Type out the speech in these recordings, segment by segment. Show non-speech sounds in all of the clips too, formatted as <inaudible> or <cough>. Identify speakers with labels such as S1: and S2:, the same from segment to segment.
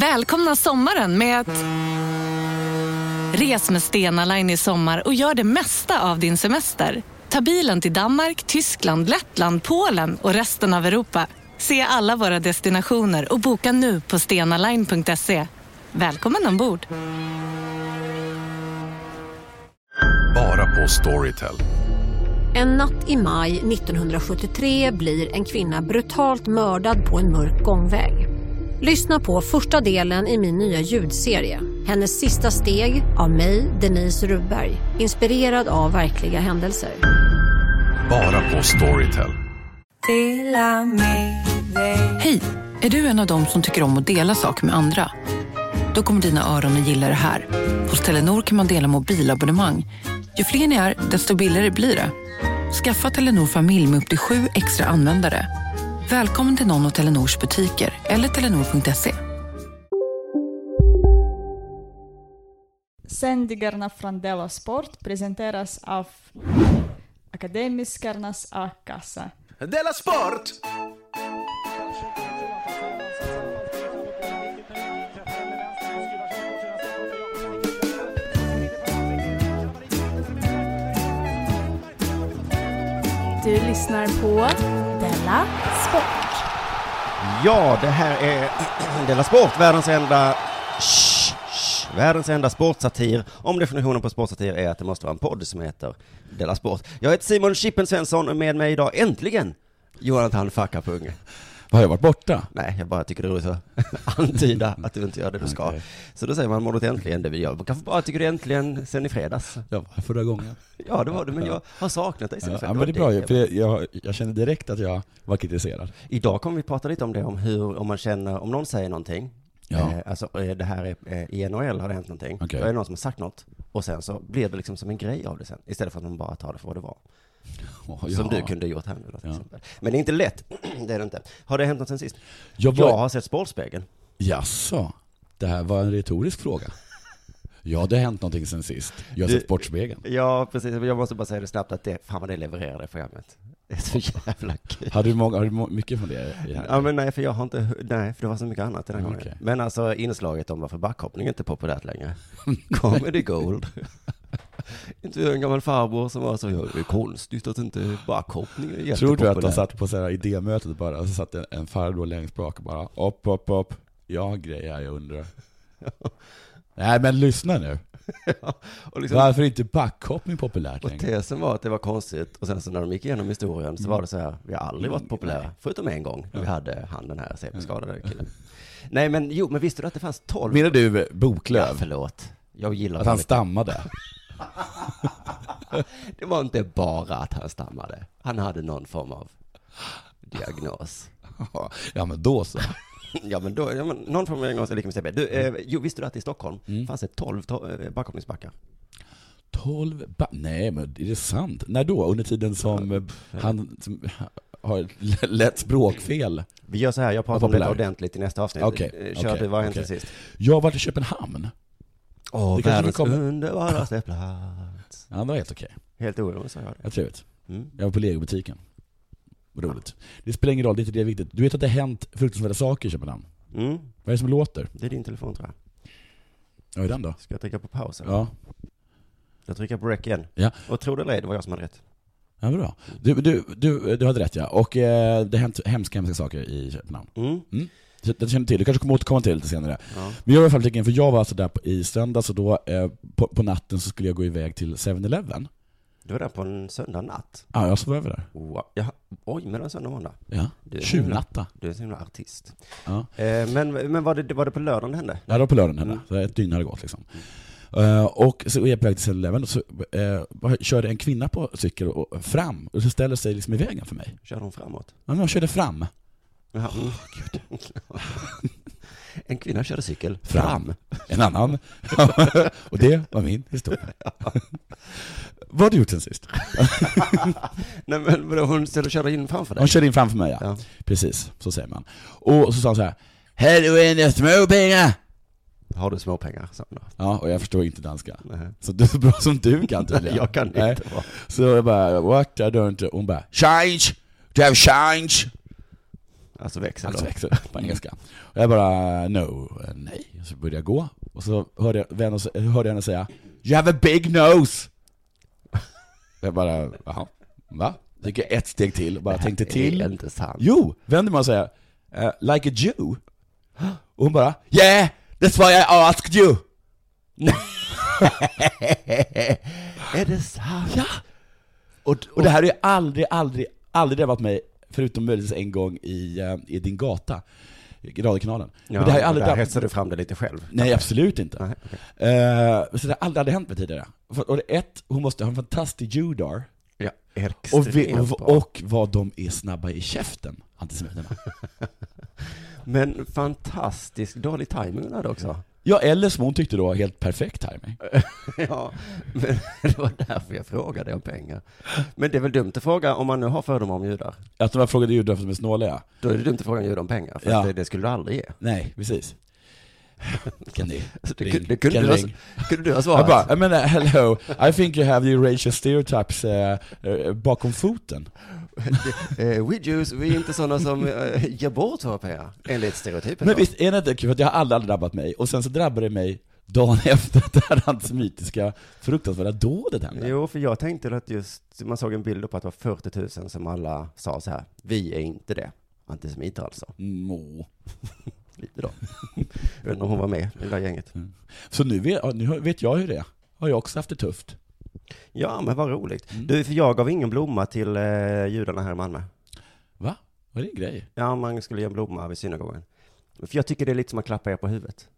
S1: Välkomna sommaren med att... Res med Stena Line i sommar och gör det mesta av din semester. Ta bilen till Danmark, Tyskland, Lettland, Polen och resten av Europa. Se alla våra destinationer och boka nu på stenaline.se. Välkommen ombord!
S2: Bara på Storytel.
S3: En natt i maj 1973 blir en kvinna brutalt mördad på en mörk gångväg. Lyssna på första delen i min nya ljudserie. Hennes sista steg av mig, Denise Rubberg. Inspirerad av verkliga händelser.
S2: Bara på Storytel.
S4: Hej! Är du en av dem som tycker om att dela saker med andra? Då kommer dina öron att gilla det här. Hos Telenor kan man dela mobilabonnemang. Ju fler ni är, desto billigare blir det. Skaffa Telenor familj med upp till sju extra användare. Välkommen till någon av Telenors butiker eller telenor.se.
S5: Sändningarna från Della Sport presenteras av Akademiskarnas A-kassa.
S6: Della Sport!
S7: Du lyssnar på Della Sport.
S8: Ja, det här är <clears throat> Della Sport, världens enda... Shh, shh, världens enda sportsatir. Om definitionen på sportsatir är att det måste vara en podd som heter Della Sport. Jag heter Simon Chippen Svensson och med mig idag äntligen Jonathan Fackapung.
S6: Har jag varit borta?
S8: Nej, jag bara tycker det är roligt att <laughs> antyda att du inte gör det du ska.
S6: Okej.
S8: Så då säger man mordet äntligen, det vill jag. Kanske bara tycker du äntligen sen i fredags.
S6: Jag var förra gången.
S8: Ja, det var du, men jag har saknat dig sen i
S6: Ja,
S8: fredags.
S6: men det är bra ju, för jag, jag, jag kände direkt att jag var kritiserad.
S8: Idag kommer vi prata lite om det, om hur, om man känner, om någon säger någonting,
S6: Ja.
S8: eh, alltså eh, det här är, eh, i NHL har det hänt någonting,
S6: Okej.
S8: då är det någon som har sagt något, och sen så blir det liksom som en grej av det sen, istället för att man bara tar det för vad det <laughs> var.
S6: Åh,
S8: Som
S6: ja.
S8: du kunde ha gjort här nu då, till
S6: Ja.
S8: exempel. Men det är inte lätt, <clears throat> det är det inte. Har det hänt något sen sist?
S6: Jag
S8: Jag
S6: var,
S8: har sett Sportspegeln.
S6: jaså, det här var en retorisk fråga. Ja, det har hänt någonting sen sist. Jag har
S8: Du-
S6: sett Sportspegeln.
S8: Ja, precis. Jag måste bara säga det snabbt att det, fan vad det levererar det programmet. Det är så jävla kul.
S6: Har du, många, har du må- mycket från det? i det här? Mm,
S8: Ja men nej för jag har inte, nej för det var så mycket annat den här gången.
S6: Okej.
S8: Men alltså inslaget om varför backhoppning inte är populärt längre. <laughs>
S6: <laughs>
S8: Comedy gold. Intervjuade en gammal farbror som var så, ja, det är konstigt att inte backhoppning är jättepopulärt.
S6: Tror du att de satt på så här idémötet bara, och så satt en, en farbror längst bak och bara upp, upp, upp. Ja, grejer jag undrar. <laughs> Nej men lyssna nu.
S8: Och liksom,
S6: Varför är inte backhoppning populärt
S8: och
S6: längre?
S8: tesen var att det var konstigt och sen så när de gick igenom historien så var det så här, vi har aldrig
S6: Mm,
S8: varit populära, förutom en gång när vi hade han den här CP-skadade killen. Nej men jo, men visste du att det fanns 12?
S6: Menar du
S8: Ja,
S6: Boklöv?
S8: förlåt. Jag gillar
S6: Att han
S8: dåligt.
S6: stammade?
S8: Det var inte bara att han stammade. Han hade någon form av diagnos.
S6: <laughs> Ja men då så.
S8: Ja men då, ja, men någon form av diagnos är lika med CP. Du, eh, jo visste du att i Stockholm fanns det 12 to- eh, backhoppningsbackar?
S6: 12 ba- Nej men är det sant? När då? Under tiden som eh, han som har ett l- lätt språkfel?
S8: Vi gör så här, jag pratar
S6: Vad
S8: om detta
S6: populär.
S8: ordentligt i nästa avsnitt.
S6: Okej,
S8: Eh, Kör
S6: okej,
S8: du, vad har hänt
S6: okej.
S8: sen sist?
S6: Jag har varit i Köpenhamn.
S8: Åh,
S6: Det kanske
S8: världens
S6: vi kommer-
S8: <laughs> underbaraste plats.
S6: Ja, det var helt okej.
S8: Helt oironiskt sa jag det.
S6: Jag trivligt.
S8: Mm.
S6: Jag var på legobutiken. Vad roligt. Det spelar ingen roll, det är inte det viktigt. Du vet att det har hänt fruktansvärda saker i Köpenhamn?
S8: Mm,
S6: Vad är det som låter?
S8: det är din telefon tror
S6: Ja,
S8: jag.
S6: är den då?
S8: Ska jag trycka på paus? eller?
S6: Ja,
S8: Jag trycker på rec igen.
S6: Ja.
S8: Och tror det eller ej, det var jag som hade rätt.
S6: ja bra. Du, du, du, du hade rätt ja. Och eh, det har hänt hemska, hemska saker i Köpenhamn.
S8: Mm.
S6: Så Det känner du till, du kanske kommer återkomma till det lite senare.
S8: Ja.
S6: Men jag var i alla fall nyfiken, för jag var alltså där på, i söndags och då eh, på, på natten så skulle jag gå iväg till 7-Eleven.
S8: Du var där på en söndag natt.
S6: Ja, jag sov över där.
S8: Wow. Jaha. Oj, mellan söndag och måndag.
S6: Ja.
S8: Du är så himla-
S6: Tjuvnatta.
S8: Du är en sån himla artist.
S6: Ja.
S8: Eh, men men var, det, var det på lördagen det hände?
S6: Ja, det var på lördagen hände.
S8: Mm.
S6: Så ett dygn hade gått liksom. Eh, och så är jag på väg till 7-Eleven och så eh, bara körde en kvinna på cykel och, och fram och så ställer sig liksom i vägen för mig.
S8: Körde hon framåt?
S6: Ja, men hon körde fram.
S8: Jaha. <laughs> en kvinna körde cykel
S6: Fram. En annan. <laughs> och det var min
S8: <laughs>
S6: historia. Vad har du gjort sen sist?
S8: Nej men vadå, hon ställde och körde in framför dig?
S6: Hon körde in framför mig ja.
S8: Ja.
S6: Precis, så säger man. Och så sa hon så här. Här är det småpengar!
S8: Har du småpengar? sa hon då. Eh,
S6: Ja, och jag förstår inte danska.
S8: Nej.
S6: Så du är så bra som du kan tydligen.
S8: <laughs> Jag kan
S6: Nej.
S8: inte vara.
S6: Så jag bara, what, I don't... Hon bara, change! Do you have change?
S8: Alltså växel då? Mm.
S6: Alltså växel på engelska. Och jag bara, no, eh, nej. Så började jag gå, och så hörde jag, vänner, så hörde jag henne säga 'You have a big nose' <laughs> Jag bara, jaha, va? Så gick jag ett steg till och bara tänkte till.
S8: Det är inte sant.
S6: Jo, vänder man och säger eh, 'Like a Jew' Och hon bara 'Yeah, that's why I asked you'
S8: <laughs> Är det sant?
S6: Ja! Och, och det här har ju aldrig, aldrig, aldrig drabbat mig, förutom möjligtvis en gång i, eh, i Din Gata, i radiokanalen. Men det här har ju aldrig
S8: där
S6: drabbat
S8: hetsar du fram det lite själv.
S6: Nej, absolut inte. Eh, så det har aldrig, aldrig hänt mig tidigare. För- Och det, ett, hon måste ha en fantastisk judar.
S8: Ja,
S6: Och, vi,
S8: extremt bra.
S6: och, och vad de är snabba i käften, antisemiterna.
S8: Men fantastiskt dålig timing hon hade också.
S6: <laughs> Ja, eller som hon tyckte då, helt perfekt timing.
S8: <laughs> Ja, men det var därför jag frågade om pengar. Men det är väl dumt att fråga, om man nu har fördomar om judar,
S6: Att de här frågade judar för att de är snåliga.
S8: då är det dumt att fråga en jude om pengar, för
S6: Ja.
S8: att det, det skulle du aldrig ge.
S6: Nej, precis. <laughs> Kan ni?
S8: Så Alltså, det,
S6: Ring.
S8: kunde- det kunde,
S6: Kan
S8: du ha,
S6: ring.
S8: kunde du ha
S6: Jag
S8: svarat.
S6: bara, I mean, uh, hello, I think you have the racial stereotypes eh, eh, bakom foten.
S8: <laughs> eh, we Jews, vi är inte sådana som eh, ger bort våra pengar, enligt stereotypen.
S6: Men
S8: då.
S6: visst är det inte kul, för att jag har aldrig, aldrig drabbat mig, och sen så drabbade det mig dagen <laughs> efter att det här antisemitiska fruktansvärda dådet hände.
S8: Jo, för jag tänkte att just, man såg en bild på att det var 40 000 som alla sa så här, vi är inte det. Antisemiter alltså.
S6: Må.
S8: Lite då. Jag undrar om hon var med i det där gänget.
S6: Mm. Så nu vet, ja, nu vet jag hur det är. Har jag också haft det tufft.
S8: Ja, men vad roligt.
S6: Mm.
S8: Du, för jag gav ingen blomma till eh, judarna här i Malmö.
S6: Va? Vad är det en grej?
S8: Ja, man skulle ge en blomma vid synagogan. För jag tycker det är lite som att klappa er på huvudet.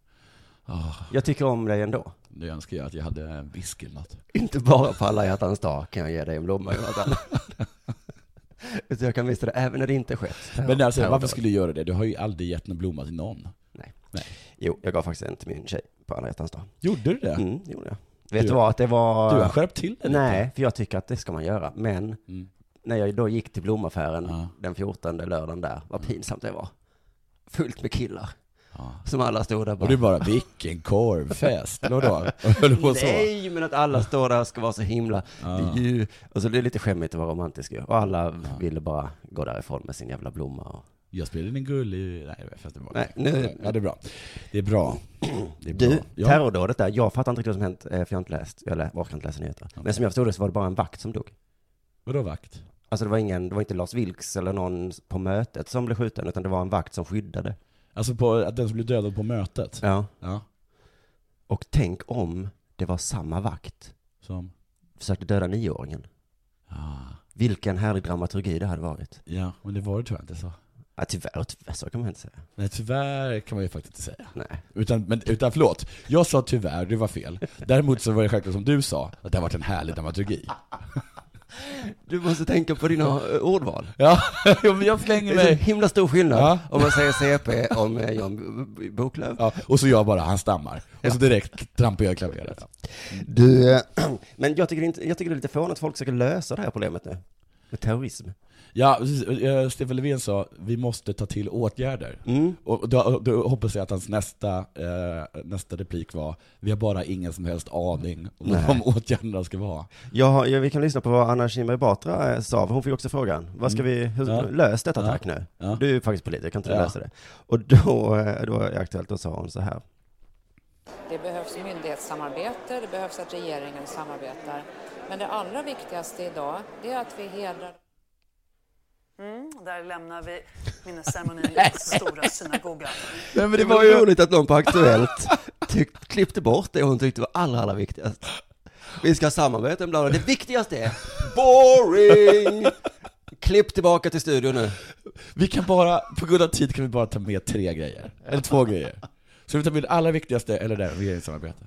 S6: Ah,
S8: Jag tycker om dig ändå.
S6: nu önskar jag att jag hade en whisky eller något.
S8: Inte bara på alla hjärtans dag kan jag ge dig en blomma, Jonathan. Utan jag kan visa det även när det inte skett.
S6: Men alltså,
S8: Här och
S6: varför
S8: då.
S6: skulle du göra det? Du har ju aldrig gett någon blomma till någon.
S8: Jo, jag gav faktiskt en till min tjej på alla hjärtans dag.
S6: Gjorde du det?
S8: Mm, det gjorde jag. Vet du
S6: Du-
S8: vad, att det var...
S6: Du har skärpt till dig
S8: Nej, för jag tycker att det ska man göra. Men
S6: Mm.
S8: när jag då gick till blomaffären
S6: Ja.
S8: den 14 lördagen där, vad pinsamt det var. Fullt med killar.
S6: Ja.
S8: Som alla stod där
S6: Och du bara, vilken korvfest! Eller
S8: <laughs>
S6: vadå? Höll på så?
S8: Nej, men att alla står där och ska vara så himla, det är ju, alltså det är lite skämmigt att vara romantisk ju. Och alla ville bara gå därifrån med sin jävla blomma och...
S6: Jag spelade en gullig... Nej, fast det var...
S8: Nej, nu-
S6: Ja, det är bra. Det är bra. Det är bra.
S8: Du,
S6: ja.
S8: terrordådet där, jag fattar inte riktigt vad som hänt, eh, för jag har inte läst, jag lä- orkar inte läsa nyheter. Men som jag förstod det så var det bara en vakt som dog.
S6: Vadå vakt?
S8: Alltså det var ingen, det var inte Lars Vilks eller någon på mötet som blev skjuten, utan det var en vakt som skyddade.
S6: Alltså på, att den som blev dödad på mötet?
S8: Ja.
S6: Ja.
S8: Och tänk om det var samma vakt,
S6: Som...
S8: försökte döda nioåringen.
S6: Ah.
S8: Vilken härlig dramaturgi det hade varit.
S6: Ja, men det var det tyvärr inte så.
S8: Ja, tyvärr, tyvärr, så kan man inte säga.
S6: Nej, tyvärr kan man ju faktiskt inte säga.
S8: Nej.
S6: Utan, men, utan förlåt, jag sa tyvärr, det var fel. Däremot så var det självklart som du sa, att det har varit en härlig dramaturgi.
S8: Du måste tänka på dina eh, ordval.
S6: Ja, <laughs> jo, men jag
S8: Det
S6: slänger
S8: är så
S6: mig.
S8: himla stor skillnad
S6: Ja.
S8: om man säger CP om eh, Jan B- B- Boklöv.
S6: Ja, och så jag bara, han stammar. Och så direkt trampar jag i klaveret.
S8: Du, eh, men jag tycker, det är inte, jag tycker det är lite fånigt att folk försöker lösa det här problemet nu. Med terrorism.
S6: Ja, precis. Eh, Stefan Löfven sa, vi måste ta till åtgärder.
S8: Mm.
S6: Och då, då hoppas jag att hans nästa, eh, nästa replik var, vi har bara ingen som helst aning om vad de åtgärderna ska vara.
S8: Jag har, ja, vi kan lyssna på vad Anna Kinberg Batra eh, sa, för hon fick också frågan. Vad ska vi, hur,
S6: Ja.
S8: lös detta
S6: Ja.
S8: tack nu.
S6: Ja.
S8: Du är ju faktiskt politiker, kan inte du
S6: Ja.
S8: lösa det? Och då, eh, då är det aktuellt, då sa hon så här.
S9: Det behövs myndighetssamarbete, det behövs att regeringen samarbetar. Men det allra viktigaste idag, det är att vi hedrar... Mm, där lämnar vi minnesceremonin i stora synagogan.
S8: Nej, men det, var ju roligt att någon på Aktuellt <laughs> tyck, klippte bort det hon tyckte var allra, allra viktigast. Vi ska ha samarbeten, bla bla. Det viktigaste är boring! Klipp tillbaka till studion nu.
S6: Vi kan bara, på grund av tid kan vi bara ta med tre grejer. Eller två grejer. Så vi tar med det allra viktigaste, eller det, här, regeringssamarbete.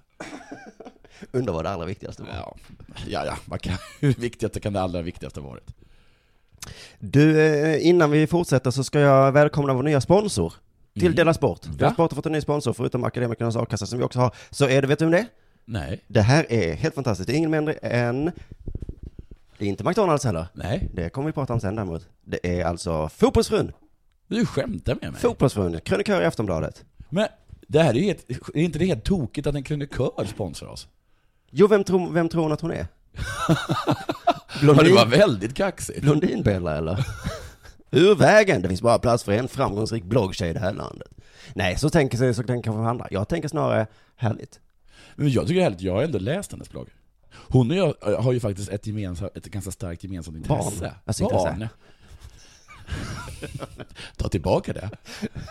S8: Undrar vad det allra viktigaste var.
S6: Ja, ja, ja man kan, <laughs> hur viktigt kan det allra viktigaste ha varit?
S8: Du, eh, innan vi fortsätter så ska jag välkomna vår nya sponsor till Della Sport. Della Sport har fått en ny sponsor, förutom Akademikernas A-kassa som vi också har. Så är det, vet du vem det är?
S6: Nej,
S8: Det här är helt fantastiskt. Det är ingen mindre än... Det är inte McDonalds heller.
S6: nej.
S8: Det kommer vi prata om sen däremot. Det är alltså Fotbollsfrun.
S6: Du skämtar med mig.
S8: Fotbollsfrun, krönikör i Aftonbladet.
S6: Men det här är ju helt, är inte det helt tokigt att en krönikör sponsrar oss?
S8: Jo, vem tror, vem tror hon att
S6: <laughs>
S8: hon är?
S6: Ja, det var
S8: Blondin,
S6: väldigt kaxigt.
S8: Blondinbella eller? Ur vägen, det finns bara plats för en framgångsrik bloggtjej i det här landet. Nej, så tänker sig, så tänker kanske andra. Jag tänker snarare, härligt.
S6: Men jag tycker det är härligt, jag har ändå läst hennes blogg. Hon och jag eh, har ju faktiskt ett, gemensamt, ett ganska starkt gemensamt intresse.
S8: Barn. Alltså, intresse.
S6: <laughs> Ta tillbaka det.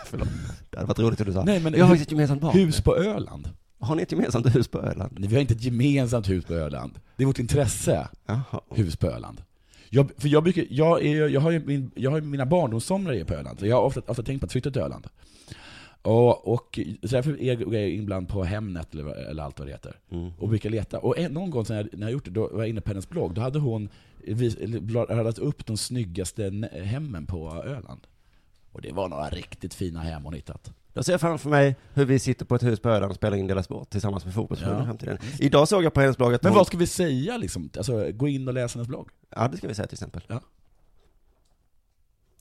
S8: Förlåt. Det hade varit roligt om du sa.
S6: Nej, men
S8: jag har
S6: hu-
S8: faktiskt ett gemensamt barn.
S6: Hus på Öland.
S8: Har ni ett gemensamt hus på Öland?
S6: Nej, vi har inte ett gemensamt hus på Öland. Det är vårt intresse,
S8: Jaha.
S6: hus på Öland. Jag, för jag, brukar, jag, är, jag har ju min, jag har ju mina barndomssomrar är på Öland, så jag har ofta, ofta tänkt på att flytta till Öland. Och, och så därför är jag ibland på Hemnet eller, vad- eller allt vad det heter. Och brukar leta. Och en, någon gång sen jag, när jag gjort det, då var jag inne på hennes blogg, då hade hon vis- eller blad- radat upp de snyggaste n- hemmen på Öland. Och det var några riktigt fina hem hon hittat.
S8: Jag ser framför mig hur vi sitter på ett hus på Öland och spelar in Dela Sport tillsammans med fotbollsförbundet i framtiden. Idag såg jag på hennes blogg att
S6: Men
S8: hon...
S6: vad ska vi säga liksom? Alltså, gå in och läs hennes blogg.
S8: Ja, det ska vi säga till exempel.
S6: Ja.
S8: <laughs>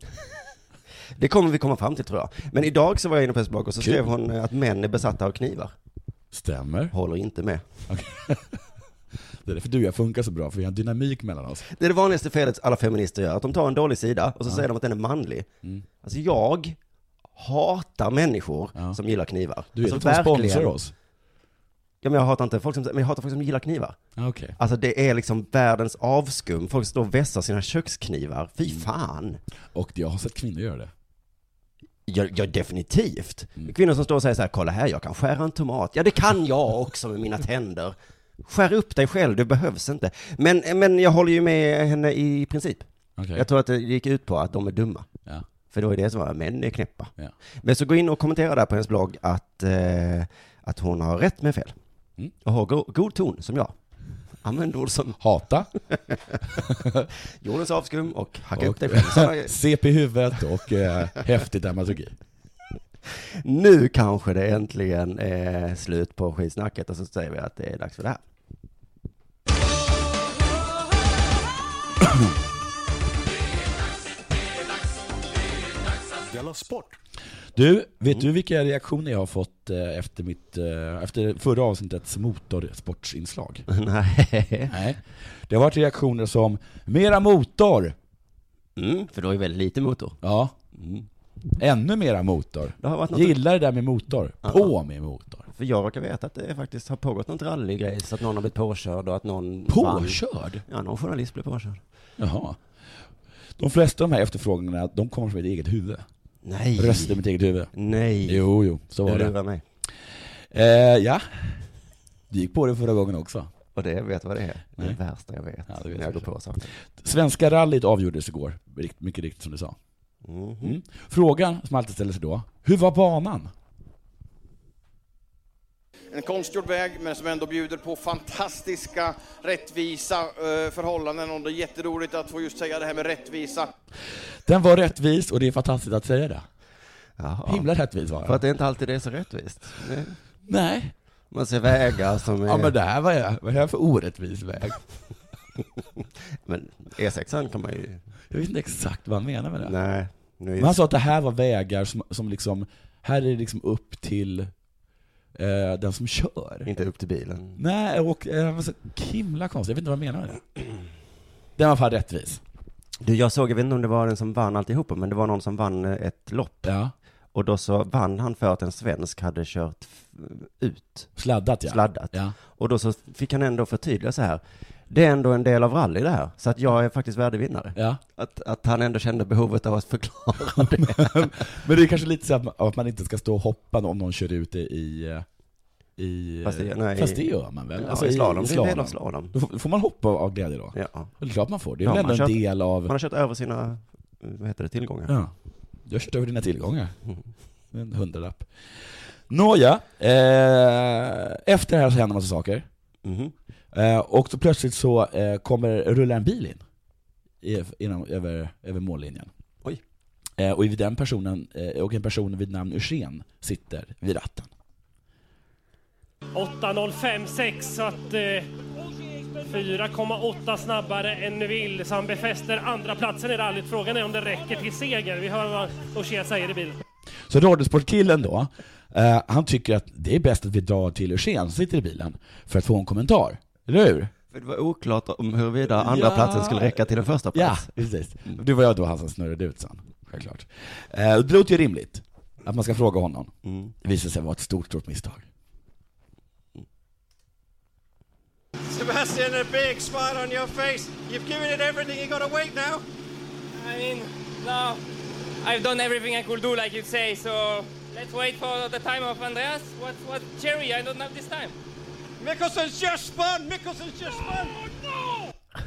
S8: Det kommer vi komma fram till tror jag. Men idag så var jag inne på hennes blogg och så
S6: Kul.
S8: skrev hon eh, att män är besatta av knivar.
S6: Stämmer.
S8: Håller inte med.
S6: Det är därför du och jag funkar så bra, för vi har en dynamik mellan oss.
S8: Det är det vanligaste felet alla feminister gör, att de tar en dålig sida och så säger de att den är manlig.
S6: Mm.
S8: Alltså jag hatar människor
S6: Ja.
S8: som gillar knivar.
S6: Du vet
S8: alltså,
S6: att de sponsrar
S8: verkligen.
S6: oss?
S8: Ja, men jag hatar inte folk som, men jag hatar folk som gillar knivar.
S6: Ah, Okej.
S8: Alltså det är liksom världens avskum. Folk står och vässar sina köksknivar. Fy
S6: Mm.
S8: fan.
S6: Och jag har sett kvinnor göra det.
S8: Ja, ja definitivt.
S6: Mm.
S8: Kvinnor som står och säger så här, kolla här, jag kan skära en tomat. Ja, det kan jag också med mina tänder. Skär upp dig själv, du behövs inte. Men, men jag håller ju med henne i princip.
S6: Okej.
S8: Jag tror att det gick ut på att de är dumma.
S6: Ja.
S8: För då är det som var, män är knäppa.
S6: Ja.
S8: Men så gå in och kommentera där på hennes blogg att, eh, att hon har rätt med fel.
S6: Mm.
S8: Och har go- god ton, som jag. Använd ord som
S6: Hata,
S8: jordens avskum och hacka
S6: Och-
S8: upp dig själv.
S6: <laughs>
S8: Sådana-
S6: CP i huvudet och eh, häftig dramaturgi.
S8: Nu kanske det äntligen är slut på skitsnacket och så säger vi att det är dags för det här. <laughs>
S6: Du, vet du vilka reaktioner jag har fått eh, efter, mitt, eh, efter förra avsnittets motorsportsinslag?
S8: Nej.
S6: Nej. Det har varit reaktioner som ”Mera motor!”
S8: Mm, för då är det väldigt lite motor.
S6: Ja. Mm. ”Ännu mera motor!”
S8: Det har varit något,
S6: Gillar det där med motor. På med motor.
S8: för jag råkar veta att det faktiskt har pågått något rallygrej, så att någon har blivit påkörd och att någon... vann.
S6: Påkörd?
S8: Ja, någon journalist blev påkörd.
S6: Jaha. De flesta av de här efterfrågorna, de kommer från mitt eget huvud.
S8: Nej.
S6: Röster i mitt eget huvud.
S8: Nej.
S6: Jo, jo, så var
S8: du
S6: det.
S8: lurar mig.
S6: Eh, ja. Du gick på det förra gången också.
S8: Och det, vet du vad det är? Det är
S6: Nej.
S8: det värsta jag vet,
S6: Ja, det vet
S8: när jag
S6: jag
S8: går på saker.
S6: Svenska rallyt avgjordes igår, rikt- mycket riktigt som du sa.
S8: Mhm.
S6: Mm. Frågan som alltid ställer sig då, hur var banan?
S10: En konstgjord väg men som ändå bjuder på fantastiska rättvisa eh, förhållanden och det är jätteroligt att få just säga det här med rättvisa.
S6: Den var rättvis och det är fantastiskt att säga det.
S8: Jaha.
S6: Himla rättvis var
S8: För att
S6: den.
S8: det inte alltid är så rättvist. Det-
S6: Nej.
S8: Man ser vägar som är...
S6: Ja men det här var jag, vad är det här för orättvis väg?
S8: men E6 kan man ju...
S6: Jag vet inte exakt vad han menar med det.
S8: Nej. Nu är
S6: Men han sa att det här var vägar som, som liksom, här är det liksom upp till eh, den som kör.
S8: Inte upp till bilen.
S6: Nej, och eh, det var så himla konstigt. Jag vet inte vad han menar med det. Den var fan rättvis.
S8: Du, jag såg, jag vet inte om det var den som vann alltihopa, men det var någon som vann eh, ett lopp.
S6: Ja.
S8: Och då så vann han för att en svensk hade kört f- ut,
S6: Sladdat ja.
S8: sladdat.
S6: Ja.
S8: Och då så fick han ändå förtydliga så här. Det är ändå en del av rally det här, så att jag är faktiskt värdevinnare.
S6: ja.
S8: Att, att han ändå kände behovet av att <laughs> förklara det.
S6: Men det är kanske lite så att man, att man inte ska stå och hoppa om någon kör ut i... i, i eh,
S8: Fast det- nej,
S6: fast det
S8: i-
S6: gör man väl? Alltså,
S8: Ja, i slalom. alltså, Det är en del av slalom.
S6: Då får- får man hoppa av glädje då?
S8: Ja. Man
S6: Det är klart man får. Det är
S8: Ja,
S6: väl
S8: man
S6: ändå en
S8: kör-
S6: del av...
S8: har kört över sina, vad heter det, tillgångar.
S6: Ja. Du har kört över dina tillgångar.
S8: Mm.
S6: En hundralapp. Nåja, eh, efter det här så händer massa saker.
S8: Mhm.
S6: Eh, och så plötsligt så eh, kommer, rullar en bil in. I, inom, över, över mållinjen.
S8: Oj.
S6: Eh, och, vid den personen, eh, och en person vid namn Ursén sitter vid ratten.
S11: 8.056 så att eh, 4,8 snabbare än Neville så han befäster andra platsen i rallyt. Frågan är om det räcker till seger. Vi hör vad Oshie säger i bilen.
S6: Så Radiosportkillen då, eh, han tycker att det är bäst att vi drar till Ursén som sitter i bilen för att få en kommentar. Eller hur?
S8: För det var oklart om huruvida andra
S6: Ja.
S8: platsen skulle räcka till den första
S6: Ja,
S8: platsen.
S6: precis. Det var jag då han som snurrade ut sen, självklart. Eh, och det låter ju rimligt. Att man ska fråga honom.
S8: Mm.
S6: Det visade sig vara ett stort, stort misstag.
S12: Sebastian, a big smile on your face. You've given it everything. You gotta wait now.
S13: I mean, no, I've done everything I could do, like you say. So let's wait for the time of Andreas. What, what cherry? I don't have this time.
S12: Mickelson's just spun. Mickelson's just spun.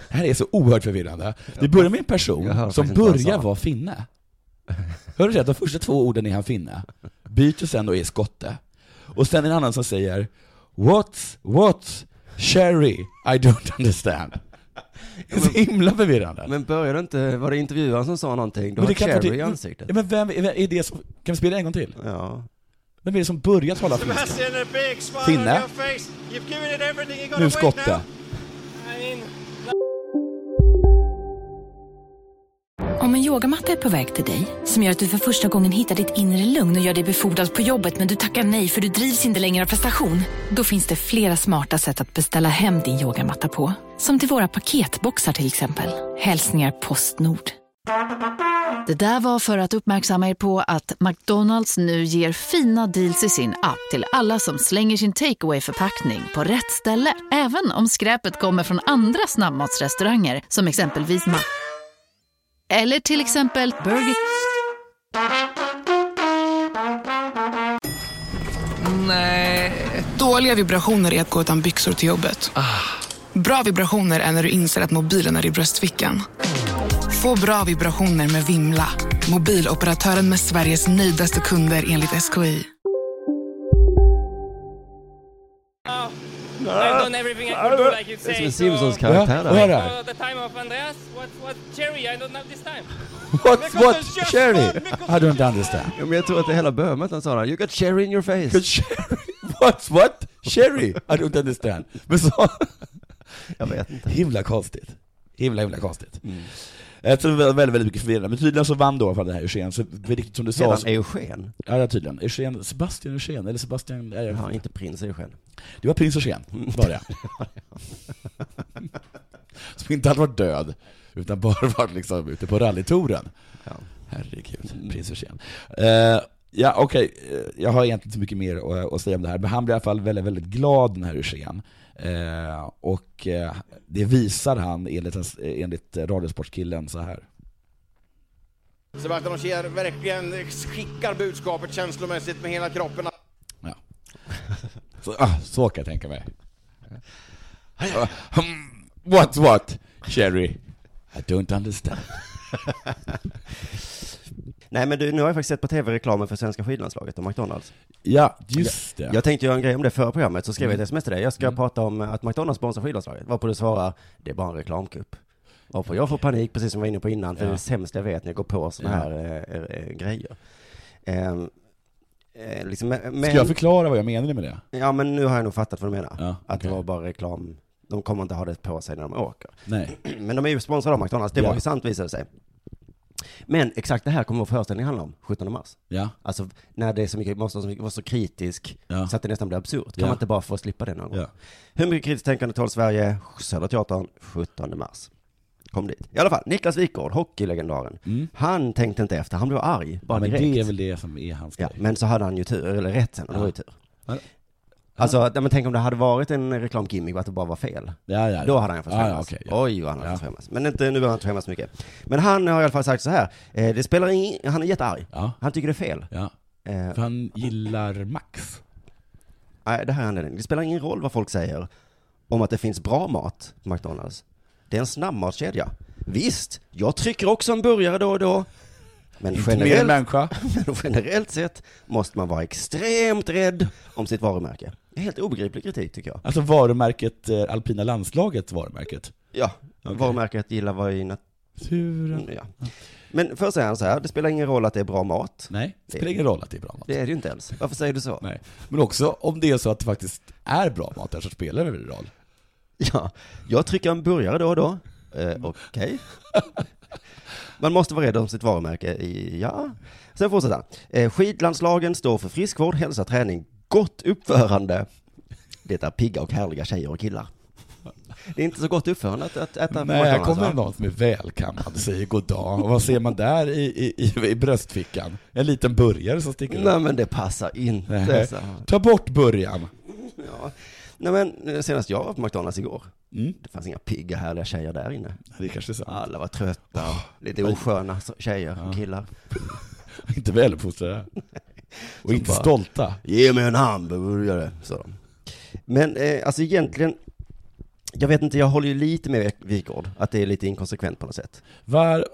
S6: Det här är så oerhört förvirrande. Det börjar med en person som
S8: faktiskt inte vad han
S6: börjar
S8: sa.
S6: vara finne. Hör du rätt? De första två orden är han finne. Byter sen och är skotte. Och sen en annan som säger What's, what's, Sherry, I don't understand.
S8: <laughs>
S6: Det är så himla förvirrande.
S8: Men började inte, var det intervjuaren som sa någonting? Du
S6: Men
S8: har
S6: det kan inte-
S8: cherry i ansiktet.
S6: Ja, men vem är, är det som, kan vi spela en gång till?
S8: Ja.
S6: Vem är det som börjar tala finska?
S12: Sebastian, a big smile
S6: Finne.
S12: on your face. You've given it everything. You gotta
S6: Nu
S12: wait now.
S6: skotte.
S13: I mean,
S14: Om en yogamatta är på väg till dig, som gör att du för första gången hittar ditt inre lugn och gör dig befordrad på jobbet men du tackar nej för du drivs inte längre av prestation. Då finns det flera smarta sätt att beställa hem din yogamatta på. Som till våra paketboxar till exempel. Hälsningar Postnord.
S15: Det där var för att uppmärksamma er på att McDonalds nu ger fina deals i sin app till alla som slänger sin takeaway förpackning på rätt ställe. Även om skräpet kommer från andra snabbmatsrestauranger som exempelvis Ma... Eller till exempel Burger...
S16: Nej. Dåliga vibrationer är att gå utan byxor till jobbet. Bra vibrationer är när du inser att mobilen är i bröstfickan. Få bra vibrationer med Vimla. Mobiloperatören med Sveriges nöjdaste kunder enligt SKI.
S13: I've done everything I could do, like you
S8: Det är som
S13: say.
S8: en
S13: So
S8: Simpsons-karaktär
S6: Ja, vad är det
S8: där.
S6: här?
S13: for the time of Andreas, what, what cherry? I don't have this time.
S6: What's, what, Sherry, I don't understand.
S8: Ja, men jag tror att det hela började med att han sa det. här, You got cherry in your face.
S6: <laughs> What's what? Sherry, I don't understand. Men så...
S8: Jag vet inte.
S6: Himla konstigt. Himla, himla konstigt. Jag tror det var väldigt, väldigt mycket förvirrande. Men tydligen så vann då i alla fall den här Eugen, så det är riktigt som du
S8: Heter
S6: sa...
S8: han Eugen?
S6: Ja, ja, tydligen. Eugen, Sebastian Eugen, eller Sebastian... Nej,
S8: Ja, inte prins Eugen.
S6: Det var prins Eugen, var det. Som inte hade varit död, utan bara varit liksom ute på rallytouren. Herregud, prins Eugen. Eh, ja, okej, eh, jag har egentligen inte så mycket mer att, att säga om det här, men han blir i alla fall väldigt, väldigt glad den här Eugen. Eh, och eh, det visar han enligt, hans- eh, enligt Radiosportkillen så här.
S10: Sebastian Ogier verkligen skickar budskapet känslomässigt med hela kroppen.
S8: <laughs>
S6: Så, ah, så kan jag tänka mig. Uh, hmm, what what? Sherry? I don't understand.
S8: Nej men du, nu har jag faktiskt sett på tv-reklamen för svenska skidlandslaget och McDonalds.
S6: Ja, just det.
S8: Jag, jag tänkte göra en grej om det förra programmet, så skrev jag
S6: Mm.
S8: ett sms till dig. Jag ska prata om att McDonalds sponsrar skidlandslaget. Varpå du svarar, det är bara en reklamkupp. Varpå jag får panik, precis som jag var inne på innan, för
S6: Ja.
S8: det är det sämsta jag vet när jag går på sådana
S6: Ja.
S8: här eh, eh, grejer. Ehm, eh, liksom, men,
S6: Ska jag förklara vad jag menade med det?
S8: Ja, men nu har jag nog fattat vad du menar. Att
S6: okej.
S8: det var bara reklam. De kommer inte ha det på sig när de åker. <clears throat>
S6: Nej.
S8: Men de är ju sponsrade av McDonalds, det
S6: Ja.
S8: var ju sant visade det sig. Men exakt det här kommer vår föreställning handla om, 17 mars.
S6: Ja.
S8: Alltså när det är så mycket, måste vara så kritisk så att det nästan blir absurt. Kan
S6: Ja.
S8: man inte bara få slippa det någon gång?
S6: Ja.
S8: Hur mycket kritiskt tänkande tål Sverige? Södra Teatern, 17 mars. Kom dit. I alla fall, Niklas Wikgård, hockeylegendaren. Han tänkte inte efter, han blev arg. Bara
S6: Mm. Ja, men
S8: direkt.
S6: det är väl det som är hans
S8: Ja, men så hade han ju tur, eller rätt sen, och det
S6: Ja.
S8: var ju tur.
S6: Ja.
S8: Alltså, ja, men tänk om det hade varit en reklamgimmick och att det bara var fel.
S6: Ja, ja,
S8: Då
S6: ja.
S8: hade han ju fått
S6: Ja, ja,
S8: skämmas.
S6: okej,
S8: Oj, vad han hade fått skämmas. Men inte, nu behöver han inte skämmas så mycket. Men han har i alla fall sagt så här, eh, det spelar ingen, han är jättearg. Han tycker det är fel.
S6: Ja.
S8: Eh,
S6: För han gillar Max.
S8: Nej, det här är anledningen. Det spelar ingen roll vad folk säger om att det finns bra mat på McDonalds. Det är en snabbmatskedja. Visst, jag trycker också en burgare då och då. Men
S6: Inte mer än
S8: generellt,
S6: människa.
S8: <laughs> men generellt sett måste man vara extremt rädd om sitt varumärke. Det är helt obegriplig kritik tycker jag.
S6: Alltså varumärket, eh, alpina landslaget varumärket.
S8: Ja, varumärket gillar vad i
S6: naturen.
S8: Ja. Men först säger han så här, det spelar ingen roll att det är bra mat.
S6: Nej, det spelar ingen roll att det är bra mat.
S8: Det är det ju inte ens. Varför säger du så?
S6: Nej. Men också om det är så att det faktiskt är bra mat där så spelar det väl roll?
S8: Ja, jag trycker en burgare då och då. Eh,
S6: Mm.
S8: Okej. Man måste vara rädd om sitt varumärke. Ja. Sen fortsätter han. Eh, skidlandslagen står för friskvård, hälsa, träning, gott uppförande. Det är pigga och härliga tjejer och killar. Det är inte så gott uppförande att, att äta
S6: Nej, här kommer det
S8: va?
S6: någon som är välkammad och säger goddag. Och vad ser man där i, i, i, i bröstfickan? En liten burgare som sticker upp.
S8: Nej, men det passar inte,
S6: Nej.
S8: så här.
S6: Ta bort burgaren.
S8: Ja. Nej men eh, senast jag var på McDonalds igår,
S6: Mm.
S8: det fanns inga pigga härliga tjejer där inne.
S6: Det kanske är sant.
S8: Alla var trötta, lite osköna så- tjejer och killar.
S6: Inte väluppfostrade. Och inte stolta.
S8: Ge mig en hamburgare, sa de. Men eh, alltså egentligen, jag vet inte, jag håller ju lite med Wikård, att det är lite inkonsekvent på något sätt.
S6: Var...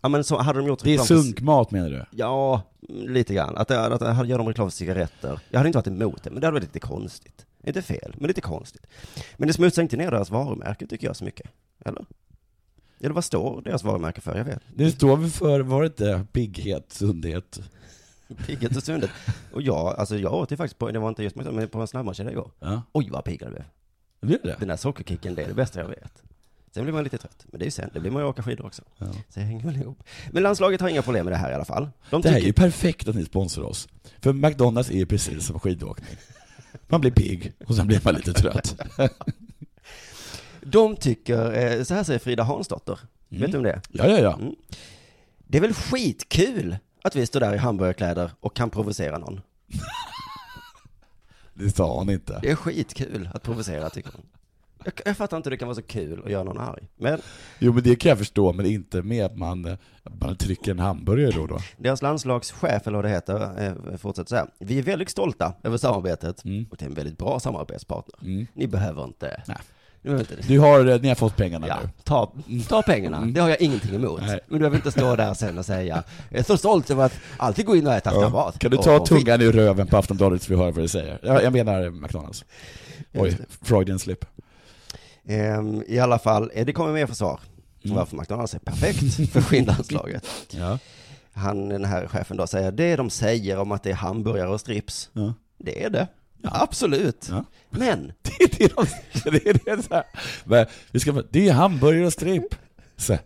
S8: Ja men så hade de gjort
S6: Det är
S8: reklam för-
S6: sunkmat menar du?
S8: Ja, lite grann. Att, det- att, att gör de reklam för cigaretter. Jag hade inte varit emot det, men det hade varit lite konstigt. Inte fel, men lite konstigt. Men det smutsar inte ner deras varumärke tycker jag så mycket. Eller? Eller vad står deras varumärke för? Jag vet.
S6: Det står väl för, var det inte pigghet, sundhet?
S8: Pigget och sundet. Och jag, alltså jag åt ju faktiskt på, det var inte just McDonald's, men på en snabbmatskedja igår. Oj vad pigg jag blev.
S6: Blev det?
S8: Den där sockerkicken, det är det bästa jag vet. Sen blir man lite trött, men det är ju sen, det blir man ju åka skidor också. Så det hänger väl ihop. Men landslaget har inga problem med det här i alla fall. De
S6: det här är
S8: tycker-
S6: ju perfekt att ni sponsrar oss. För McDonalds är ju precis som skidåkning. Man blir pigg och sen blir man lite trött.
S8: De tycker, eh, så här säger Frida Hansdotter,
S6: Mm.
S8: vet du om det
S6: Ja, ja, ja.
S8: Mm. Det är väl skitkul att vi står där i hamburgerkläder och kan provocera någon.
S6: Det sa han inte.
S8: Det är skitkul att provocera tycker hon. Jag, jag fattar inte hur det kan vara så kul att göra någon arg. Men
S6: Jo men det kan jag förstå, men inte med att man, eh, man trycker en hamburgare då och då.
S8: deras landslagschef, eller vad det heter, eh, fortsätter så här. Vi är väldigt stolta över samarbetet
S6: Mm.
S8: och det är en väldigt bra samarbetspartner. Ni behöver inte... Ni behöver inte
S6: Du har, eh, ni har fått pengarna nu.
S8: Ta, ta pengarna, det har jag ingenting emot.
S6: Mm. Nej.
S8: Men du behöver inte stå där sen och säga, jag är så stolt över att alltid gå in och äta snabbmat.
S6: Kan du
S8: Och-
S6: ta
S8: och fint."
S6: tungan ur röven på Aftonbladet så vi hör vad du säger? Jag, jag menar eh, McDonalds. Oj,
S8: Just
S6: Freudian slip.
S8: Ehm, I alla fall, eh, det kommer mer försvar.
S6: Mm.
S8: Varför McDonalds är perfekt för skinnlandslaget. Han, den här chefen då, säger det de säger om att det är hamburgare och strips. Det är det. Absolut. Men.
S6: det är det de, det är det så här. Men, vi ska, det är hamburgare och strip. Så.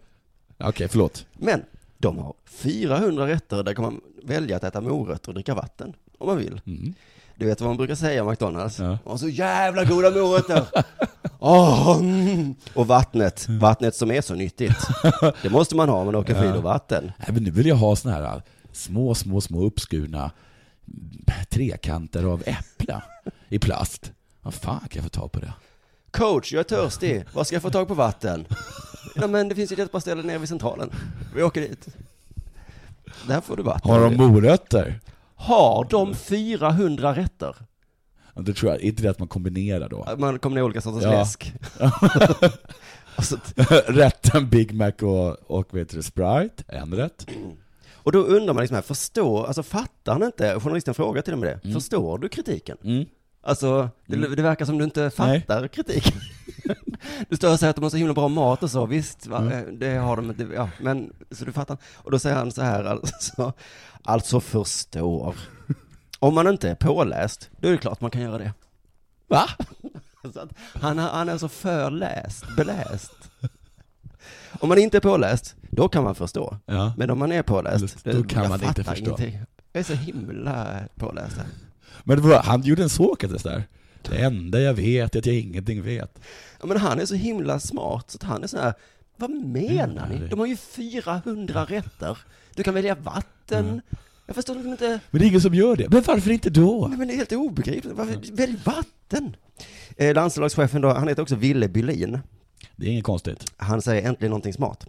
S6: Okej, förlåt.
S8: Men de har 400 rätter där kan man välja att äta morötter och dricka vatten om man vill.
S6: Mm.
S8: Du vet vad man brukar säga om McDonalds? De har så jävla
S6: <laughs>
S8: goda morötter! Åh, mm. Och vattnet, vattnet som är
S6: <laughs>
S8: så nyttigt. Det måste man ha om man åker
S6: Ja.
S8: skidor-vatten.
S6: Nej, men nu vill jag ha såna här äh, små, små, små uppskurna mm, trekanter av äpple i plast. Vad fan kan jag få tag på det?
S8: Coach, jag är törstig. Var ska jag få tag
S6: <laughs>
S8: på vatten? Ja, men det finns ju ett jättebra ställe nere vid Centralen. Vi åker dit. Där får du vatten.
S6: Har de morötter?
S8: Har de 400 rätter?
S6: Ja, Det tror jag, inte det att man kombinerar då?
S8: Man kommer ner olika sorters
S6: Ja. <laughs>
S8: läsk. <laughs>
S6: Rätten Big Mac och, och vet du, Sprite, en rätt.
S8: Och då undrar man liksom här, förstår, alltså fattar han inte, journalisten frågar till och med det, förstår du kritiken? Alltså, det, det verkar som du inte fattar kritiken. <laughs> du står och säger att de har så himla bra mat och så, visst, va? Eh, det har de, det, ja, men, så du fattar. Och då säger han så här, alltså, alltså förstår. Om man inte är påläst, då är det klart man kan göra det. Va? <laughs> Så att han, har- han är alltså förläst, beläst. Om man inte är påläst, då kan man förstå.
S6: Ja.
S8: Men om man är påläst,
S6: Då kan
S8: jag
S6: man inte
S8: fattar
S6: förstå.
S8: ingenting. Jag är så himla påläst här.
S6: Men det var, han gjorde en Sokrates där. Det enda jag vet är att jag ingenting vet.
S8: Ja, men han är så himla smart så att han är så här, vad menar ni? De har ju 400 rätter. Du kan välja vatten. Jag förstår liksom inte.
S6: Men det är ingen som gör det. Men varför inte då?
S8: Nej, men det är helt obegripligt. Varför? Välj vatten. Eh, landslagschefen då, han heter också Ville Bylin.
S6: Det är inget konstigt.
S8: Han säger äntligen någonting smart.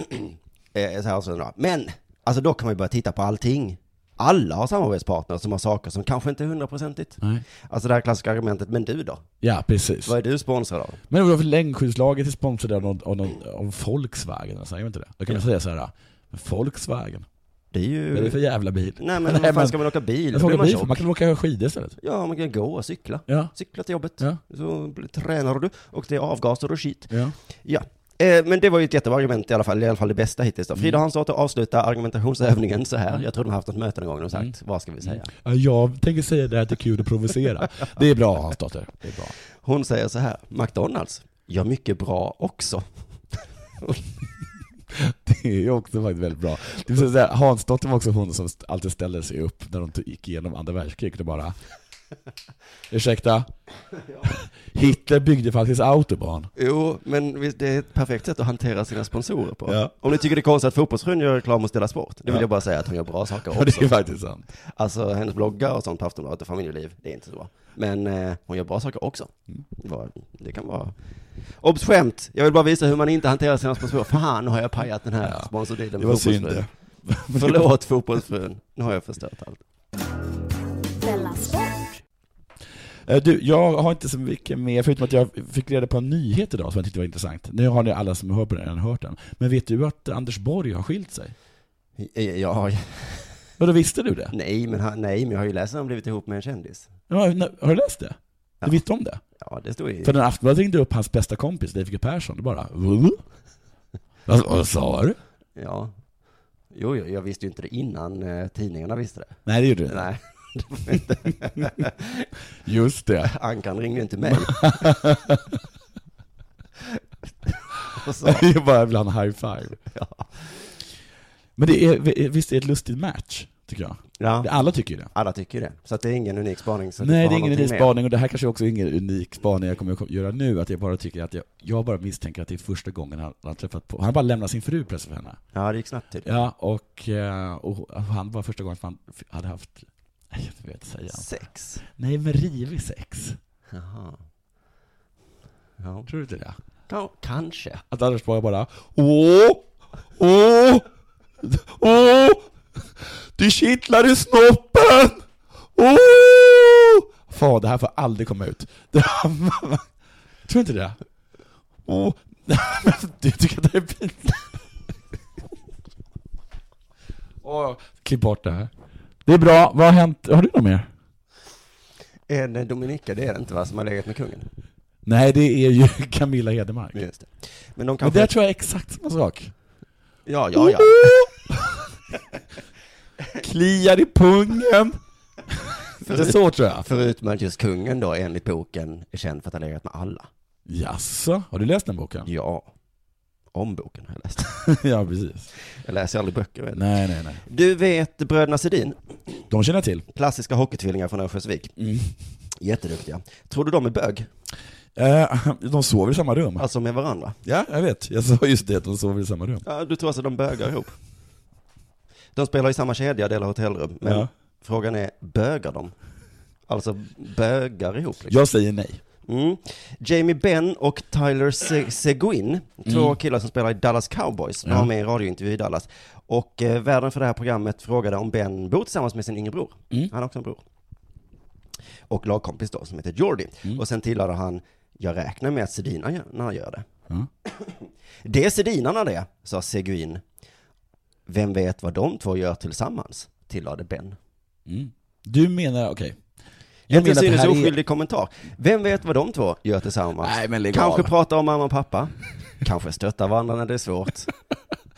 S8: <clears throat> eh, så här och så, då. men, alltså då kan man ju börja titta på allting. Alla har samarbetspartners som har saker som kanske inte är hundraprocentigt.
S6: Nej.
S8: Alltså det här klassiska argumentet, men du då?
S6: Ja, precis.
S8: Vad är du sponsrad av?
S6: Men varför längdskyddslaget är sponsrade av, någon, av, någon, av Volkswagen? Alltså, jag vet inte det. Då kan man säga så här, men Volkswagen?
S8: Det är ju...
S6: Vad är det för jävla bil?
S8: Nej men vad fan ska man åka bil?
S6: Man,
S8: Då
S6: ska
S8: blir
S6: åka
S8: man
S6: bil för?
S8: tjock.
S6: man kan åka skidor istället.
S8: Ja, man kan gå och cykla.
S6: Ja.
S8: Cykla till jobbet.
S6: Ja.
S8: Så blir- tränar du och det är avgaser och skit.
S6: Ja.
S8: Ja. Eh, Men det var ju ett jättebra argument i alla fall, i alla fall det bästa hittills då. Frida
S6: Mm.
S8: Hansdotter avslutar argumentationsövningen så här. Jag tror de har haft ett möte någon gång och sagt,
S6: Mm.
S8: vad ska vi säga?
S6: Ja, jag tänker säga det här att det är kul att provocera. Det är bra, hans dotter. Det är bra.
S8: Hon säger så här, McDonalds, gör mycket bra också.
S6: <laughs> Det är ju också faktiskt väldigt bra. Det vill säga, Hansdotter var också hon som st- alltid ställde sig <laughs> upp när de t- gick igenom andra världskriget och bara Ursäkta? Hitler byggde faktiskt autobahn.
S8: Jo, men visst, det är ett perfekt sätt att hantera sina sponsorer på. Om ni tycker det är konstigt att Fotbollsfrun gör reklam och Dela Sport, det vill
S6: Ja.
S8: jag bara säga att hon gör bra saker också.
S6: Ja, det är faktiskt sant.
S8: Alltså hennes bloggar och sånt på Aftonbladet och Familjeliv, det är inte så bra. Men eh, hon gör bra saker också. Det var- Det kan vara... Obs! Skämt! Jag vill bara visa hur man inte hanterar sina sponsorer. Fan, nu har jag pajat den här sponsordelen
S6: Det
S8: med
S6: var synd
S8: Fotbollsfrun.
S6: det.
S8: <laughs> Förlåt Fotbollsfrun, nu har jag förstört allt.
S7: Della Sport.
S6: Eh, Du, jag har inte så mycket mer, förutom att jag fick reda på en nyhet idag som jag tyckte var intressant. Nu har ni alla som hör på den redan hört den. Men vet du att Anders Borg har skilt sig?
S8: Ja.
S6: Vadå, visste du det?
S8: Nej, men, han, nej, men jag har ju läst att han blivit ihop med en kändis.
S6: Ja, nej, Har du läst det? Du visste om det?
S8: Ja, det stod i...
S6: För när Aftonbladet ringde upp hans bästa kompis, Leif G Persson, då bara "Vuh?" Vad vad sa du?
S8: Ja. Jo, jo, jag visste ju inte det innan eh, tidningarna visste det.
S6: Nej, det gjorde du inte.
S8: Nej. det var <laughs> inte.
S6: Just det.
S8: Ankan ringde
S6: <laughs>
S8: inte mig. Och <laughs>
S6: <laughs>
S8: så-
S6: Det är bara ibland high five. Men det är, visst är det ett lustigt match, tycker jag?
S8: Ja.
S6: Alla tycker ju det.
S8: Alla tycker ju det. Så att det är ingen unik spaning. Så du
S6: Nej,
S8: får
S6: det är
S8: ha
S6: ingen
S8: någonting
S6: unik
S8: mer.
S6: spaning och det här kanske också är ingen unik spaning jag kommer att göra nu, att jag bara tycker att jag, jag bara misstänker att det är första gången han han har träffat på, han har bara lämnat sin fru plötsligt för henne.
S8: Ja, det gick snabbt tydligen.
S6: Ja, och, eh, och han var första gången som han f- hade haft, jag vet inte säga.
S8: Sex?
S6: Nej, men rivig sex.
S8: Jaha. Ja.
S6: Tror du inte det?
S8: Ka- kanske.
S6: Att Anders Borg bara Åh! Åh! Åh! Du kittlar i snoppen! Åh! Fan, det här får aldrig komma ut. <laughs> Det här- Tror du inte det? Åh! <laughs> Du tycker att det är pinsamt? <laughs> Åh, Klipp bort det här. Det är bra. Vad har hänt? Har du något mer?
S8: Är det Dominika, eh, det är det inte va, som har legat med kungen?
S6: Nej, det är ju <laughs> Camilla Hedemark.
S8: Just det. Men de
S6: Men
S8: kanske...
S6: där tror jag är exakt samma sak.
S8: Ja, ja, ja.
S6: <laughs> Kliar i pungen! Eller så tror jag.
S8: Förutom att just kungen då, enligt boken, är känd för att ha legat med alla.
S6: Jaså, har du läst den
S8: <laughs>
S6: boken?
S8: Ja. Om boken har jag
S6: <laughs>
S8: läst.
S6: ja, precis.
S8: Jag läser aldrig böcker. vet du.
S6: Nej, nej, nej.
S8: Du vet bröderna Sedin?
S6: De känner jag till.
S8: Klassiska hockeytvillingar från Örnsköldsvik.
S6: Mm.
S8: Jätteduktiga. Tror du de är bög?
S6: Eh, de sover i samma rum.
S8: Alltså med varandra?
S6: Ja, jag vet. Jag sa just det, att de sover i samma rum.
S8: Ja, du tror alltså de bögar ihop? De spelar i samma kedja, delar hotellrum. Men
S6: Ja.
S8: frågan är, bögar de? Alltså bögar ihop? liksom?
S6: Jag säger nej.
S8: Mm. Jamie Benn och Tyler Se- Seguin, två
S6: Mm.
S8: killar som spelar i Dallas Cowboys, de
S6: Ja.
S8: var med i en radiointervju i Dallas. Och eh, värden för det här programmet frågade om Ben bor tillsammans med sin yngre bror.
S6: Mm.
S8: Han har också en bror. Och lagkompis då, som heter Jordi.
S6: Mm.
S8: Och sen tillade han, jag räknar med att Sedina gör- när han gör det.
S6: Ja.
S8: <clears throat> Det är Sedinarna det, sa Seguin. Vem vet vad de två gör tillsammans, tillade Ben.
S6: Mm. Du menar, okej.
S8: En till
S6: menar
S8: synes
S6: här är-
S8: oskyldig kommentar. Vem vet vad de två gör tillsammans?
S6: Nej, men lägg
S8: Kanske
S6: av.
S8: prata om mamma och pappa. Kanske stötta varandra när det är svårt.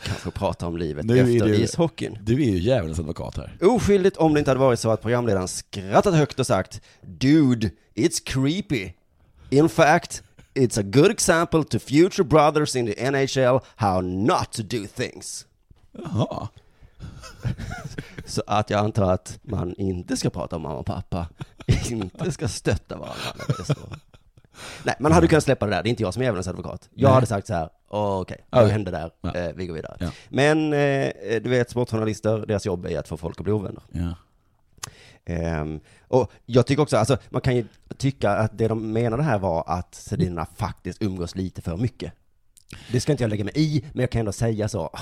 S8: Kanske prata om livet
S6: Nu är
S8: efter
S6: du-
S8: ishockeyn.
S6: Du är ju djävulens advokat här.
S8: Oskyldigt om det inte hade varit så att programledaren skrattat högt och sagt Dude, it's creepy. In fact, it's a good example to future brothers in the NHL how not to do things.
S6: Jaha.
S8: Så att jag antar att man inte ska prata om mamma och pappa, <laughs> inte ska stötta varandra. när det är så. Nej, man hade kunnat släppa det där, det är inte jag som är djävulens advokat. Jag
S6: Nej.
S8: hade sagt så här, "Åh, okej, vad
S6: Okej.
S8: hände där? Eh, vi går vidare.
S6: Ja.
S8: Men eh, du vet, sportjournalister, deras jobb är att få folk att bli ovänner.
S6: Ja.
S8: Ehm, och jag tycker också, alltså, man kan ju tycka att det de menade här var att Sedinarna faktiskt umgås lite för mycket. Det ska inte jag lägga mig i, men jag kan ändå säga så. "Ah,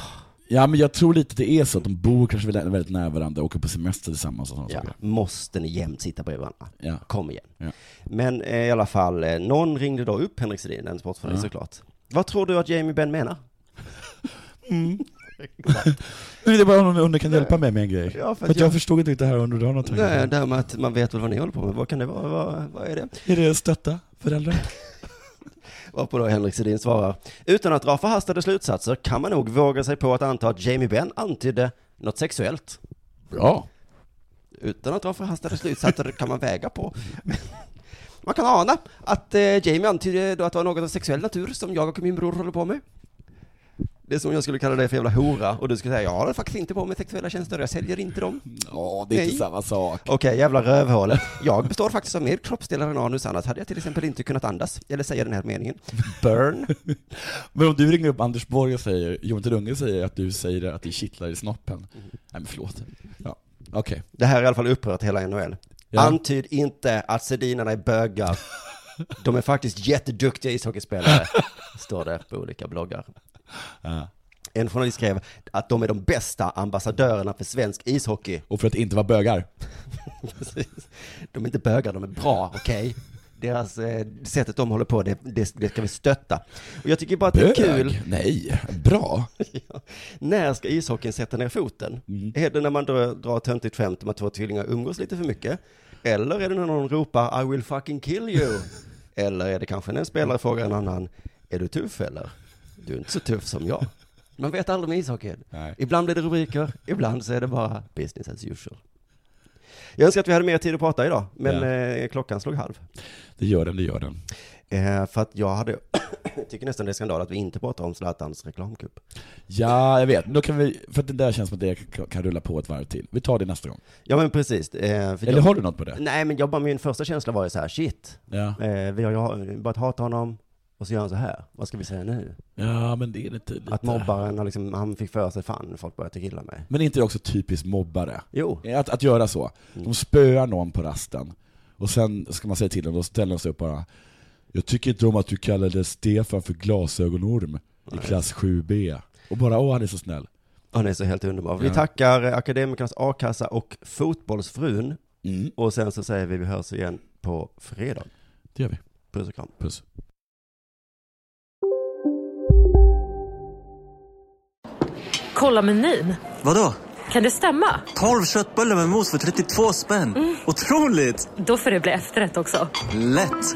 S6: Ja, men jag tror lite det är så att de bor kanske väldigt väldigt nära varandra, åker på semester tillsammans och sådana
S8: Ja,
S6: saker.
S8: måste ni jämt sitta bredvid varandra?
S6: Ja.
S8: Kom igen.
S6: Ja.
S8: Men eh, i alla fall, eh, någon ringde då upp Henrik Sedin, en sportjournalist
S6: Ja.
S8: såklart. Vad tror du att Jamie Benn menar?
S6: Mm. Nej, det är bara om om du kan hjälpa mig med en grej.
S8: Ja, för
S6: för
S8: att
S6: att jag,
S8: jag-
S6: förstod inte riktigt det här om du har något tankar på
S8: Nej,
S6: det.
S8: Eh, det här med att man vet väl vad ni håller på med, vad kan det vara, vad, vad är det?
S6: Är det stötta föräldrar?
S8: Varpå då Henrik Sedin svarar, utan att dra förhastade slutsatser kan man nog våga sig på att anta att Jamie Benn antydde något sexuellt.
S6: Bra.
S8: Utan att dra förhastade slutsatser kan man väga på. <laughs> Man kan ana att eh, Jamie antydde då att det var något av sexuell natur som jag och min bror håller på med. Det är som jag skulle kalla dig för jävla hora och du skulle säga jag har faktiskt inte på mig sexuella tjänster, jag säljer inte dem.
S6: Ja, det är inte samma sak.
S8: Okej, jävla rövhål. Jag består faktiskt av mer kroppsdelar än anus, annars hade jag till exempel inte kunnat andas eller säga den här meningen. Burn.
S6: <laughs> Men om du ringer upp Anders Borg och säger, Jonte Runge säger att du säger att det kittlar i snoppen.
S8: Mm.
S6: Nej men förlåt. Ja, okej.
S8: Det här har i alla fall upprört hela NHL.
S6: Ja.
S8: Antyd inte att sedinarna är bögar. De är faktiskt
S6: <laughs>
S8: jätteduktiga ishockeyspelare, står det på olika bloggar. En journalist skrev att de är de bästa ambassadörerna för svensk ishockey. <laughs>
S6: Och för att inte vara bögar.
S8: Precis. De är inte bögar, de är bra, okej? Deras eh, sättet de håller på, det, det, det ska vi stötta. Och jag tycker bara att
S6: Bög?
S8: det är kul.
S6: Nej, bra.
S8: <laughs> ja. När ska ishockeyn sätta ner foten?
S6: Mm.
S8: Är det när man drar, drar ett töntigt skämt om att två tvillingar umgås lite för mycket? Eller är det när någon ropar I will fucking
S6: <laughs>
S8: kill you? eller är det kanske när en spelare frågar en annan Är du tuff eller? Du är inte så tuff som jag. Man vet aldrig med ishockeyn. Ibland blir det rubriker, ibland så är det bara business as usual. Jag önskar att vi hade mer tid att prata idag, men
S6: Ja.
S8: eh, klockan slog halv.
S6: Det gör den, det gör den.
S8: Eh, för att jag hade, <coughs> jag tycker nästan det är skandal att vi inte pratar om Zlatans reklamkupp.
S6: Ja, jag vet. Men Då kan vi, för att det där känns som att det kan- kan rulla på ett varv till. Vi tar det nästa gång.
S8: Ja men precis. Eh, för
S6: Eller
S8: jag-
S6: har du något på det?
S8: Nej men jag bara, min första känsla var ju så här, shit.
S6: Ja.
S8: Eh, vi har ju börjat hata honom, och så gör han så här. Vad ska vi säga nu?
S6: Ja, men det är det tydligt.
S8: Att mobbaren har liksom, han fick för sig, fan folk börjar tycka illa om mig.
S6: Men är inte det också typiskt mobbare?
S8: Jo.
S6: Eh, Att, att göra så. De spöar någon på rasten, och sen ska man säga till dem, då ställer de sig upp bara Jag tycker inte om att du kallade Stefan för glasögonorm i klass 7B. Och bara åh, han är så snäll.
S8: Han är så helt underbar. Vi
S6: Ja.
S8: tackar eh, Akademikernas A-kassa och Fotbollsfrun. Och sen så säger vi vi hörs igen på fredag.
S6: Det gör vi.
S8: Puss och kram.
S6: Puss.
S17: Kolla menyn.
S18: Vadå?
S17: Kan det stämma? Mm.
S18: 12 köttbullar med mos för 32 spänn. Otroligt!
S17: Då får det bli efterrätt också.
S18: Lätt!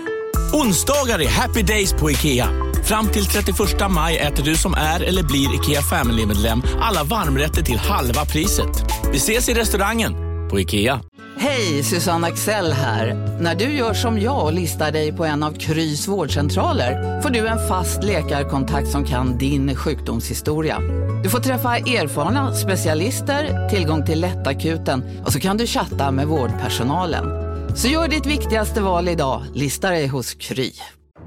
S19: Onsdagar är happy days på IKEA. Fram till 31 maj äter du som är eller blir IKEA Family-medlem alla varmrätter till halva priset. Vi ses i restaurangen på IKEA.
S20: Hej, Susanne Axel här. När du gör som jag och listar dig på en av Krys vårdcentraler får du en fast läkarkontakt som kan din sjukdomshistoria. Du får träffa erfarna specialister, tillgång till lättakuten och så kan du chatta med vårdpersonalen. Så gör ditt viktigaste val idag, listar dig hos Kry.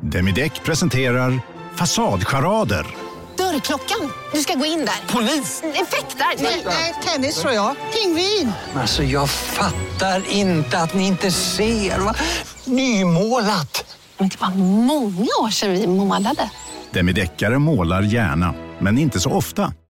S21: Demideck presenterar Fasadcharader.
S22: Dörrklockan. Du ska gå in där. Polis? Effektar? Nej, nej, tennis tror jag. Pingvin.
S23: Alltså jag fattar inte att ni inte ser. Va? Nymålat!
S22: Men det var många år sedan vi målade.
S21: Demideckare målar gärna, men inte så ofta.